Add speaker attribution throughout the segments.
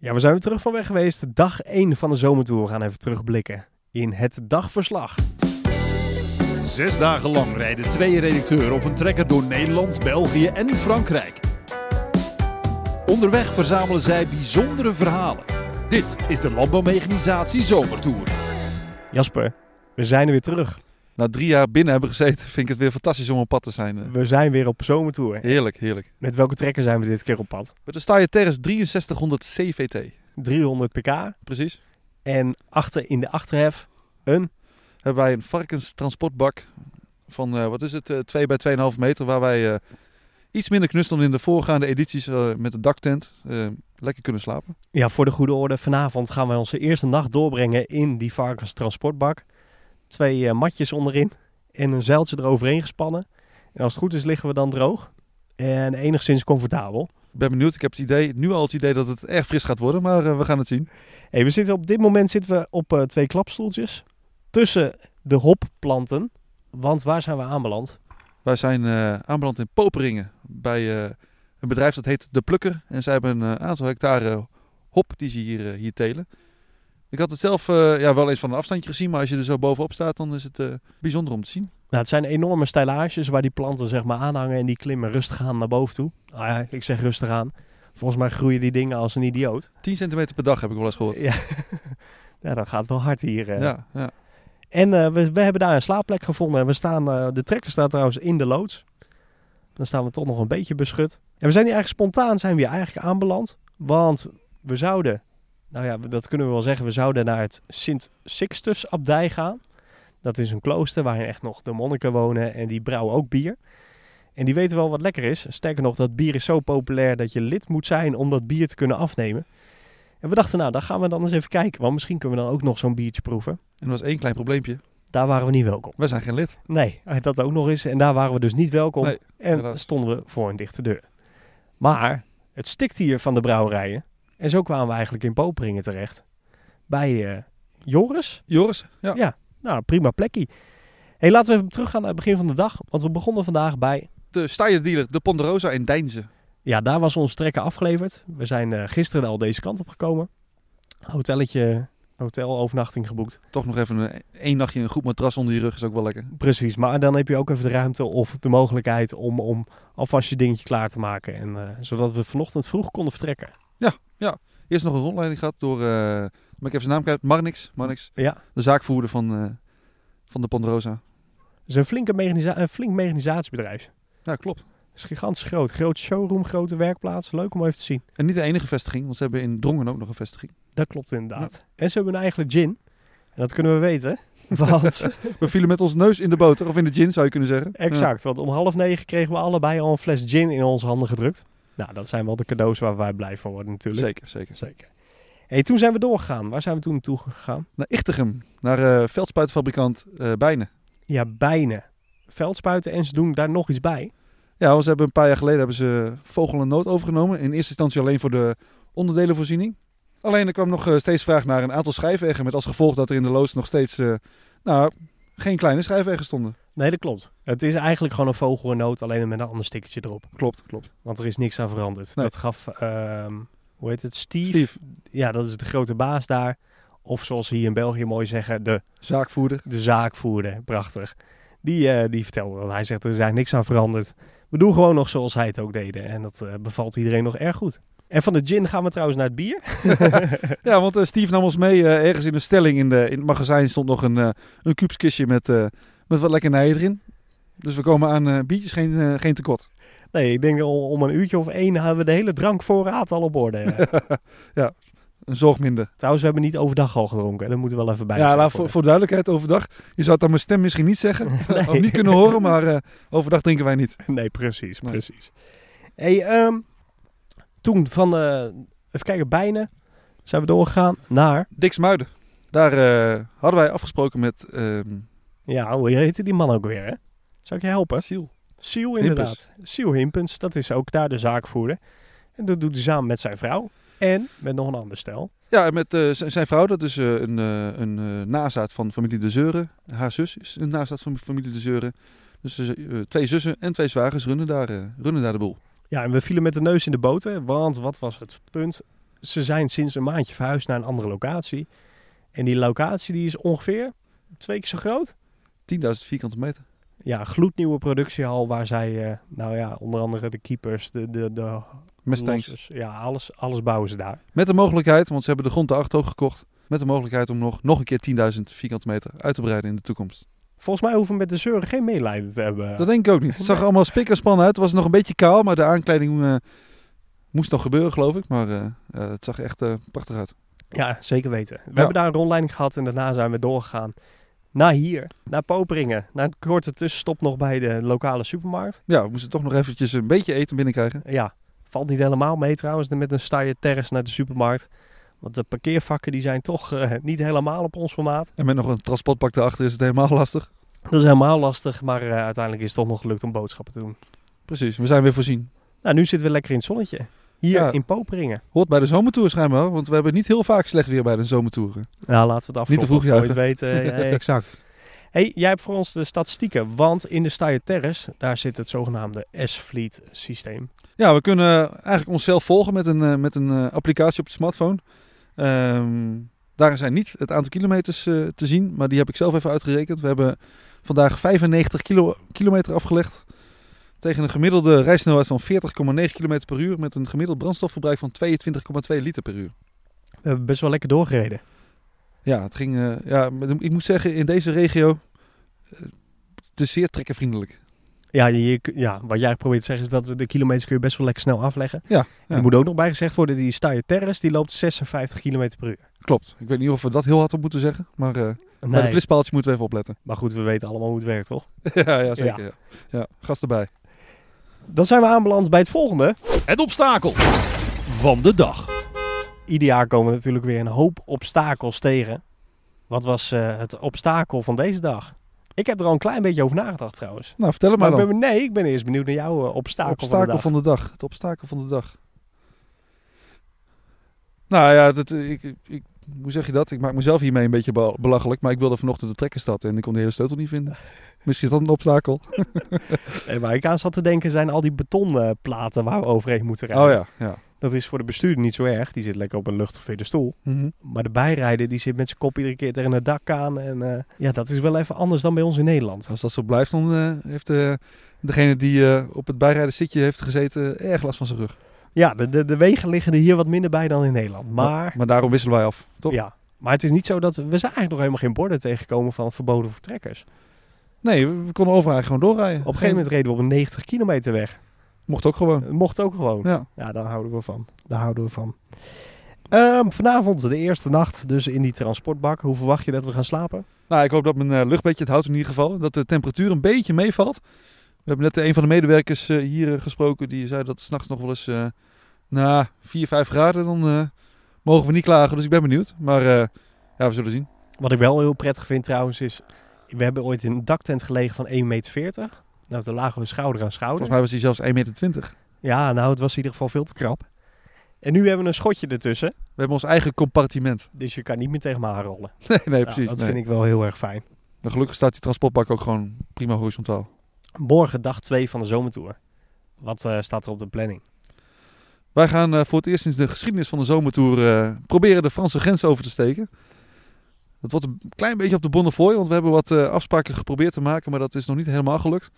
Speaker 1: Ja, we zijn weer terug van weg geweest. Dag 1 van de zomertour. We gaan even terugblikken in het dagverslag.
Speaker 2: Zes dagen lang rijden twee redacteuren op een trekker door Nederland, België en Frankrijk. Onderweg verzamelen zij bijzondere verhalen. Dit is de Landbouwmechanisatie Zomertour.
Speaker 1: Jasper, we zijn er weer terug.
Speaker 3: Na drie jaar binnen hebben gezeten, vind ik het weer fantastisch om op pad te zijn. eh.
Speaker 1: We zijn weer op zomertour.
Speaker 3: Heerlijk, heerlijk.
Speaker 1: Met welke trekker zijn we dit keer op pad?
Speaker 3: Met de Steyr Terrace 6300 CVT.
Speaker 1: 300 pk
Speaker 3: Precies.
Speaker 1: en achter in de achterhef een...
Speaker 3: Hebben wij een varkenstransportbak van, eh, wat is het, eh, 2 bij 2,5 meter. Waar wij eh, iets minder knus dan in de voorgaande edities eh, met de daktent eh, lekker kunnen slapen.
Speaker 1: Ja, voor de goede orde, vanavond gaan wij onze eerste nacht doorbrengen in die varkenstransportbak. Twee eh, matjes onderin en een zeiltje eroverheen gespannen. En als het goed is liggen we dan droog en enigszins comfortabel.
Speaker 3: Ik ben benieuwd. Ik heb het idee, nu al het idee dat het erg fris gaat worden, maar eh, we gaan het zien.
Speaker 1: Hey, we zitten op dit moment zitten we op eh, twee klapstoeltjes tussen de hopplanten. Want waar zijn we aanbeland?
Speaker 3: Wij zijn eh, aanbeland in Poperingen bij eh, een bedrijf dat heet De Plukker. En zij hebben een eh, aantal hectare hop die ze hier, eh, hier telen. Ik had het zelf eh, ja, wel eens van een afstandje gezien, maar als je er zo bovenop staat, dan is het eh, bijzonder om te zien.
Speaker 1: Nou, het zijn enorme stijlages waar die planten zeg maar aanhangen en die klimmen rustig aan naar boven toe. Nou ja, ik zeg rustig aan. Volgens mij groeien die dingen als een idioot.
Speaker 3: 10 centimeter per dag heb ik wel eens gehoord.
Speaker 1: Ja, ja dat gaat wel hard hier. eh.
Speaker 3: Ja, ja.
Speaker 1: En eh, we, we hebben daar een slaapplek gevonden. En we staan, eh, de trekker staat trouwens in de loods. Dan staan we toch nog een beetje beschut. En we zijn hier eigenlijk spontaan zijn we hier eigenlijk aanbeland. Want we zouden, nou ja, we- dat kunnen we wel zeggen. We zouden naar het Sint Sixtus abdij gaan. Dat is een klooster waarin echt nog de monniken wonen. En die brouwen ook bier. En die weten wel wat lekker is. Sterker nog, dat bier is zo populair dat je lid moet zijn om dat bier te kunnen afnemen. En we dachten, nou, dan gaan we dan eens even kijken. Want misschien kunnen we dan ook nog zo'n biertje proeven.
Speaker 3: En er was één klein probleempje.
Speaker 1: Daar waren we niet welkom.
Speaker 3: Wij zijn geen lid.
Speaker 1: Nee, eh, dat ook nog eens. En daar waren we dus niet welkom.
Speaker 3: Nee,
Speaker 1: en
Speaker 3: helaas.
Speaker 1: stonden we voor een dichte deur. Maar het stikt hier van de brouwerijen. En zo kwamen we eigenlijk in Poperingen terecht. Bij eh, Joris.
Speaker 3: Joris, ja.
Speaker 1: Nou, prima plekje. hey, laten we even teruggaan naar het begin van de dag. Want we begonnen vandaag bij...
Speaker 3: de Steyr dealer, de Ponderosa in Deinzen.
Speaker 1: Ja, daar was ons trekker afgeleverd. We zijn eh, gisteren al deze kant op gekomen. Hotelletje, hotelovernachting geboekt.
Speaker 3: Toch nog even een, één nachtje een goed matras onder je rug is ook wel lekker.
Speaker 1: Precies, maar dan heb je ook even de ruimte of de mogelijkheid om, om alvast je dingetje klaar te maken. En, eh, zodat we vanochtend vroeg konden vertrekken.
Speaker 3: Eerst nog een rondleiding gehad door, eh moet ik even zijn naam kwijt, Marnix. Marnix,
Speaker 1: Ja.
Speaker 3: de zaakvoerder van, eh, van de Ponderosa.
Speaker 1: Het is een, flinke mechanisa- een flink mechanisatiebedrijf.
Speaker 3: Ja, klopt.
Speaker 1: Het is gigantisch groot. Groot showroom, grote werkplaats. Leuk om even te zien.
Speaker 3: En niet de enige vestiging, want ze hebben in Drongen ook nog een vestiging.
Speaker 1: Dat klopt inderdaad. En ze hebben een eigen gin. En dat kunnen we weten. Want,
Speaker 3: We vielen met ons neus in de boter, of in de gin zou je kunnen zeggen.
Speaker 1: exact, want om half negen kregen we allebei al een fles gin in onze handen gedrukt. Nou, dat zijn wel de cadeaus waar wij blij van worden
Speaker 3: Ja,
Speaker 1: natuurlijk.
Speaker 3: zeker, zeker.
Speaker 1: Zeker. hey, toen zijn we doorgegaan. Waar zijn we toen naartoe gegaan?
Speaker 3: Naar Ichtegem, naar eh veldspuitfabrikant eh Bijnen.
Speaker 1: Ja, bijna. Veldspuiten en ze doen daar nog iets bij.
Speaker 3: Ja, want ze hebben een paar jaar geleden hebben ze vogel en nood overgenomen. In eerste instantie alleen voor de onderdelenvoorziening. Alleen er kwam nog eh, steeds vraag naar een aantal schijfwegen. Met als gevolg dat er in de loods nog steeds, eh, nou, geen kleine schijfwegen stonden.
Speaker 1: Nee, dat klopt. Het is eigenlijk gewoon een vogelrenoot, alleen met een ander stickertje erop.
Speaker 3: Klopt, klopt.
Speaker 1: Want er is niks aan veranderd.
Speaker 3: Nee.
Speaker 1: Dat gaf, ehm, hoe heet het, Steve.
Speaker 3: Steve,
Speaker 1: Ja, dat is de grote baas daar. Of zoals ze hier in België mooi zeggen, de,
Speaker 3: zaakvoerder.
Speaker 1: de zaakvoerder. Prachtig. Die, eh, die vertelde dat. Hij zegt, er is eigenlijk niks aan veranderd. We doen gewoon nog zoals hij het ook deden. En dat eh, bevalt iedereen nog erg goed. En van de gin gaan we trouwens naar het bier.
Speaker 3: Ja, want eh, Steve nam ons mee. eh, ergens in een stelling in, de, in het magazijn stond nog een, eh een kuubskistje met, eh, met wat lekkernijen erin. Dus we komen aan eh, biertjes geen, eh, geen tekort.
Speaker 1: Nee, ik denk al om een uurtje of één hadden we de hele drankvoorraad al op orde.
Speaker 3: Een zorg minder.
Speaker 1: Trouwens, we hebben niet overdag al gedronken. Dat moeten we wel even bij
Speaker 3: ja,
Speaker 1: gezegd
Speaker 3: laat voor,
Speaker 1: worden.
Speaker 3: voor duidelijkheid overdag. Je zou het aan mijn stem misschien niet zeggen.
Speaker 1: Nee.
Speaker 3: Of niet kunnen horen, maar eh, overdag drinken wij niet.
Speaker 1: Nee, precies,
Speaker 3: Nee.
Speaker 1: precies. Hey, ehm, toen van, eh, even kijken, bijna zijn we doorgegaan naar,
Speaker 3: Dix Muiden. Daar eh, hadden wij afgesproken met ehm
Speaker 1: ja, hoe heette die man ook weer, hè? Zou ik je helpen?
Speaker 3: Siel.
Speaker 1: Siel, inderdaad. Siel Himpens, dat is ook daar de zaakvoerder. En dat doet hij samen met zijn vrouw en met nog een ander stel.
Speaker 3: Ja, en met eh, z- zijn vrouw, dat is eh, een, eh, een eh, nazaat van familie De Zeuren. Haar zus is een nazaat van familie De Zeuren. Dus ze- eh, twee zussen en twee zwagers runnen daar, eh, runnen daar de boel.
Speaker 1: Ja, en we vielen met de neus in de boter, want wat was het punt? ze zijn sinds een maandje verhuisd naar een andere locatie. En die locatie die is ongeveer twee keer zo groot.
Speaker 3: 10.000 vierkante meter.
Speaker 1: Ja, een gloednieuwe productiehal waar zij, eh, nou ja, onder andere de keepers, de, de, de
Speaker 3: Mustangs.
Speaker 1: lossers, Ja, alles, alles bouwen ze daar.
Speaker 3: Met de mogelijkheid, want ze hebben de grond te acht hoog gekocht. Met de mogelijkheid om nog, nog een keer 10.000 vierkante meter uit te breiden in de toekomst.
Speaker 1: Volgens mij hoeven we met de zeuren geen medelijden te hebben.
Speaker 3: Dat denk ik ook niet. Het zag er allemaal spik en span uit. Het was nog een beetje kaal, maar de aankleding eh, moest nog gebeuren, geloof ik. Maar eh, eh, het zag echt eh, prachtig uit.
Speaker 1: Ja, zeker weten. We
Speaker 3: Ja.
Speaker 1: hebben daar een rondleiding gehad en daarna zijn we doorgegaan naar hier, naar Poperingen. Na een korte tussenstop nog bij de lokale supermarkt.
Speaker 3: Ja, we moesten toch nog eventjes een beetje eten binnenkrijgen.
Speaker 1: Ja, valt niet helemaal mee trouwens met een staaie terras naar de supermarkt. Want de parkeervakken die zijn toch eh, niet helemaal op ons formaat.
Speaker 3: En met nog een transportpak daarachter is het helemaal lastig.
Speaker 1: Dat is helemaal lastig, maar eh, uiteindelijk is het toch nog gelukt om boodschappen te doen.
Speaker 3: Precies, we zijn weer voorzien.
Speaker 1: Nou, nu zitten we lekker in het zonnetje. Hier
Speaker 3: Ja.
Speaker 1: in Poperingen.
Speaker 3: Hoort bij de zomertour schijnbaar, want we hebben niet heel vaak slecht weer bij de zomertour.
Speaker 1: Nou, laten we het afkloppen.
Speaker 3: Niet te vroeg
Speaker 1: voor je het
Speaker 3: juichen.
Speaker 1: weten. Ja, exact. Hey, jij hebt voor ons de statistieken, want in de Steyr Terrace, daar zit het zogenaamde S-Fleet systeem.
Speaker 3: Ja, we kunnen eh, eigenlijk onszelf volgen met een, eh, met een eh, applicatie op de smartphone. Ehm, daarin zijn niet het aantal kilometers eh, te zien, maar die heb ik zelf even uitgerekend. We hebben vandaag 95 kilo, kilometer afgelegd. Tegen een gemiddelde rijsnelheid van 40,9 km per uur. Met een gemiddeld brandstofverbruik van 22,2 liter per uur.
Speaker 1: We hebben best wel lekker doorgereden.
Speaker 3: Ja, het ging, eh, ja met- ik moet zeggen, in deze regio. eh, het is zeer trekkervriendelijk.
Speaker 1: Ja, je, je- ja, wat jij probeert te zeggen is dat we de kilometers kun je best wel lekker snel afleggen.
Speaker 3: Ja,
Speaker 1: En
Speaker 3: ja.
Speaker 1: er moet ook nog bij gezegd worden, die Steyr Terrace die loopt 56 km per uur.
Speaker 3: Klopt. Ik weet niet of we dat heel hard op moeten zeggen. Maar eh bij de
Speaker 1: Nee,
Speaker 3: flitspaaltje moeten we even opletten.
Speaker 1: maar goed, we weten allemaal hoe het werkt, toch?
Speaker 3: ja, ja, zeker. Ja. Ja, gast erbij.
Speaker 1: Dan zijn we aanbeland bij het volgende.
Speaker 2: Het obstakel van de dag.
Speaker 1: Ieder jaar komen we natuurlijk weer een hoop obstakels tegen. Wat was eh, het obstakel van deze dag? Ik heb er al een klein beetje over nagedacht trouwens.
Speaker 3: Nou, vertel het
Speaker 1: Maar
Speaker 3: maar
Speaker 1: ik
Speaker 3: dan.
Speaker 1: ben, nee, ik ben eerst benieuwd naar jouw eh, obstakel, van de
Speaker 3: obstakel
Speaker 1: dag.
Speaker 3: van de dag. Het obstakel van de dag. Nou ja, dat, eh, ik, ik, hoe zeg je dat? Ik maak mezelf hiermee een beetje be- belachelijk. Maar ik wilde vanochtend de trekkerstad en ik kon de hele sleutel niet vinden. Misschien is dat een obstakel.
Speaker 1: Nee, waar ik aan zat te denken zijn al die betonplaten waar we overheen moeten rijden.
Speaker 3: Oh ja, ja.
Speaker 1: Dat is voor de bestuurder niet zo erg. Die zit lekker op een luchtgeveerde stoel.
Speaker 3: Mhm.
Speaker 1: Maar de bijrijder die zit met zijn kop iedere keer tegen het dak aan. En eh, ja, dat is wel even anders dan bij ons in Nederland.
Speaker 3: Als dat zo blijft, dan eh, heeft eh, degene die eh, op het bijrijderszitje heeft gezeten erg last van zijn rug.
Speaker 1: Ja, de, de, de wegen liggen er hier wat minder bij dan in Nederland. Maar,
Speaker 3: Maar daarom wisselen wij af, toch?
Speaker 1: ja, maar het is niet zo dat... We zijn eigenlijk nog helemaal geen borden tegengekomen van verboden voor trekkers. Op
Speaker 3: Nee, we, we konden overal gewoon doorrijden.
Speaker 1: een gegeven moment reden we op een 90 kilometer weg.
Speaker 3: Mocht ook gewoon.
Speaker 1: Het mocht ook gewoon.
Speaker 3: Ja.
Speaker 1: Ja, daar houden we van. Daar houden we van. Ehm, vanavond de eerste nacht dus in die transportbak. Hoe verwacht je dat we gaan slapen?
Speaker 3: Nou, ik hoop dat mijn eh, luchtbedje het houdt in ieder geval. Dat de temperatuur een beetje meevalt. We hebben net een van de medewerkers eh, hier eh, gesproken. Die zei dat het s'nachts nog wel eens eh, na 4, 5 graden. Dan eh, mogen we niet klagen. Dus ik ben benieuwd. Maar eh, ja, we zullen zien.
Speaker 1: Wat ik wel heel prettig vind trouwens is... We hebben ooit in een daktent gelegen van 1,40 meter. Nou, toen lagen we schouder aan schouder.
Speaker 3: Volgens mij was hij zelfs 1,20 meter.
Speaker 1: Ja, nou, het was in ieder geval veel te krap. En nu hebben we een schotje ertussen.
Speaker 3: We hebben ons eigen compartiment.
Speaker 1: Dus je kan niet meer tegen me aanrollen.
Speaker 3: Nee, nee,
Speaker 1: Nou,
Speaker 3: precies.
Speaker 1: dat
Speaker 3: nee.
Speaker 1: vind ik wel heel erg fijn.
Speaker 3: Maar Nou, gelukkig staat die transportbak ook gewoon prima horizontaal.
Speaker 1: Morgen dag 2 van de zomertour. Wat eh, staat er op de planning?
Speaker 3: Wij gaan eh, voor het eerst sinds de geschiedenis van de zomertour eh, proberen de Franse grens over te steken. Dat wordt een klein beetje op de Bonnefoy, want we hebben wat eh, afspraken geprobeerd te maken, maar dat is nog niet helemaal gelukt.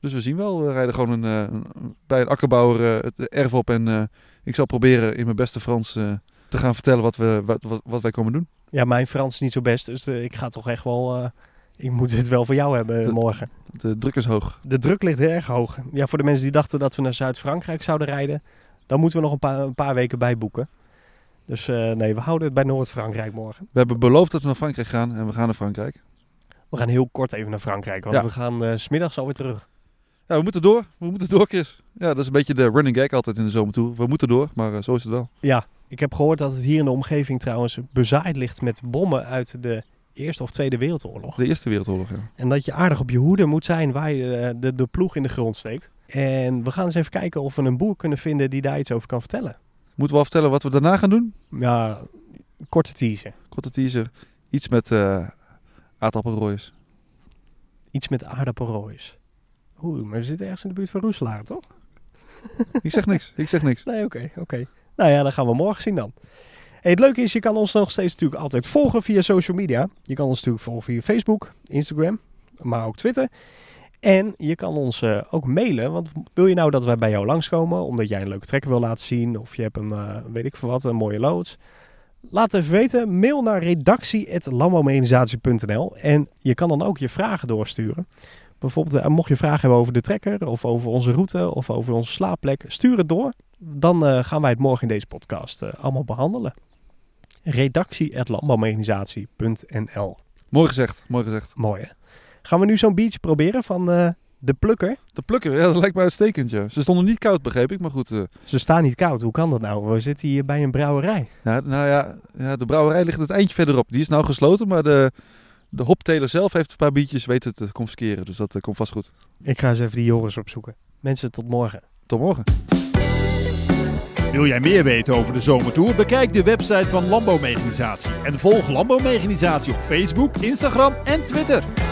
Speaker 3: Dus we zien wel, we rijden gewoon een, eh, een- bij een akkerbouwer eh, het erf op en eh, ik zal proberen in mijn beste Frans eh, te gaan vertellen wat, we, wat, wat, wat wij komen doen.
Speaker 1: Ja, mijn Frans is niet zo best. Dus eh, ik ga toch echt wel... eh, ik moet dit wel voor jou hebben eh,
Speaker 3: De-
Speaker 1: morgen.
Speaker 3: De druk is hoog.
Speaker 1: De druk ligt erg hoog. Ja, voor de mensen die dachten dat we naar Zuid-Frankrijk zouden rijden, dan moeten we nog een paar, een paar weken bijboeken. Dus eh, nee, we houden het bij Noord-Frankrijk morgen.
Speaker 3: We hebben beloofd dat we naar Frankrijk gaan en we gaan naar Frankrijk.
Speaker 1: We gaan heel kort even naar Frankrijk, want
Speaker 3: Ja.
Speaker 1: we gaan eh, 's smiddags alweer terug.
Speaker 3: Ja, we moeten door. We moeten door, Chris. Ja, dat is een beetje de running gag altijd in de zomertour. We moeten door, maar eh, zo is het wel.
Speaker 1: Ja, ik heb gehoord dat het hier in de omgeving trouwens bezaaid ligt met bommen uit de Eerste of Tweede Wereldoorlog.
Speaker 3: De Eerste Wereldoorlog, ja.
Speaker 1: En dat je aardig op je hoede moet zijn waar je eh, de, de ploeg in de grond steekt. En we gaan eens even kijken of we een boer kunnen vinden die daar iets over kan vertellen.
Speaker 3: Moeten we al vertellen wat we daarna gaan doen?
Speaker 1: Ja, korte teaser.
Speaker 3: Korte teaser. Iets met eh aardappelrooiers.
Speaker 1: Iets met aardappelroois. Oeh, maar ze zitten ergens in de buurt van Roeselaar, toch?
Speaker 3: Ik zeg niks. Ik zeg niks.
Speaker 1: Nee, oké, oké. Nou ja, dat gaan we morgen zien dan. En het leuke is, je kan ons nog steeds natuurlijk altijd volgen via social media. Je kan ons natuurlijk volgen via Facebook, Instagram, maar ook Twitter. En je kan ons eh, ook mailen, want wil je nou dat wij bij jou langskomen, omdat jij een leuke trekker wil laten zien, of je hebt een, eh, weet ik veel wat, een mooie loods. Laat het even weten, mail naar redactie.landbouwmechanisatie.nl en je kan dan ook je vragen doorsturen. Bijvoorbeeld, eh, mocht je vragen hebben over de trekker, of over onze route, of over onze slaapplek, stuur het door. Dan eh, gaan wij het morgen in deze podcast eh, allemaal behandelen. Redactie.landbouwmechanisatie.nl
Speaker 3: Mooi gezegd, mooi gezegd.
Speaker 1: Mooi hè? Gaan we nu zo'n beach proberen van eh, de plukker?
Speaker 3: De plukken, ja, dat lijkt me uitstekend, ja. Ze stonden niet koud, begreep ik, maar goed. eh,
Speaker 1: Ze staan niet koud, hoe kan dat nou? We zitten hier bij een brouwerij.
Speaker 3: nou, nou ja, ja, de brouwerij ligt het eindje verderop. Die is nou gesloten, maar de, de hopteler zelf heeft een paar biertjes weten te confisceren. Dus dat eh, komt vast goed.
Speaker 1: Ik ga eens even die Joris opzoeken. Mensen, tot morgen.
Speaker 3: Tot morgen.
Speaker 2: Wil jij meer weten over de zomertour? Bekijk de website van Landbouwmechanisatie en volg Landbouwmechanisatie op Facebook, Instagram en Twitter.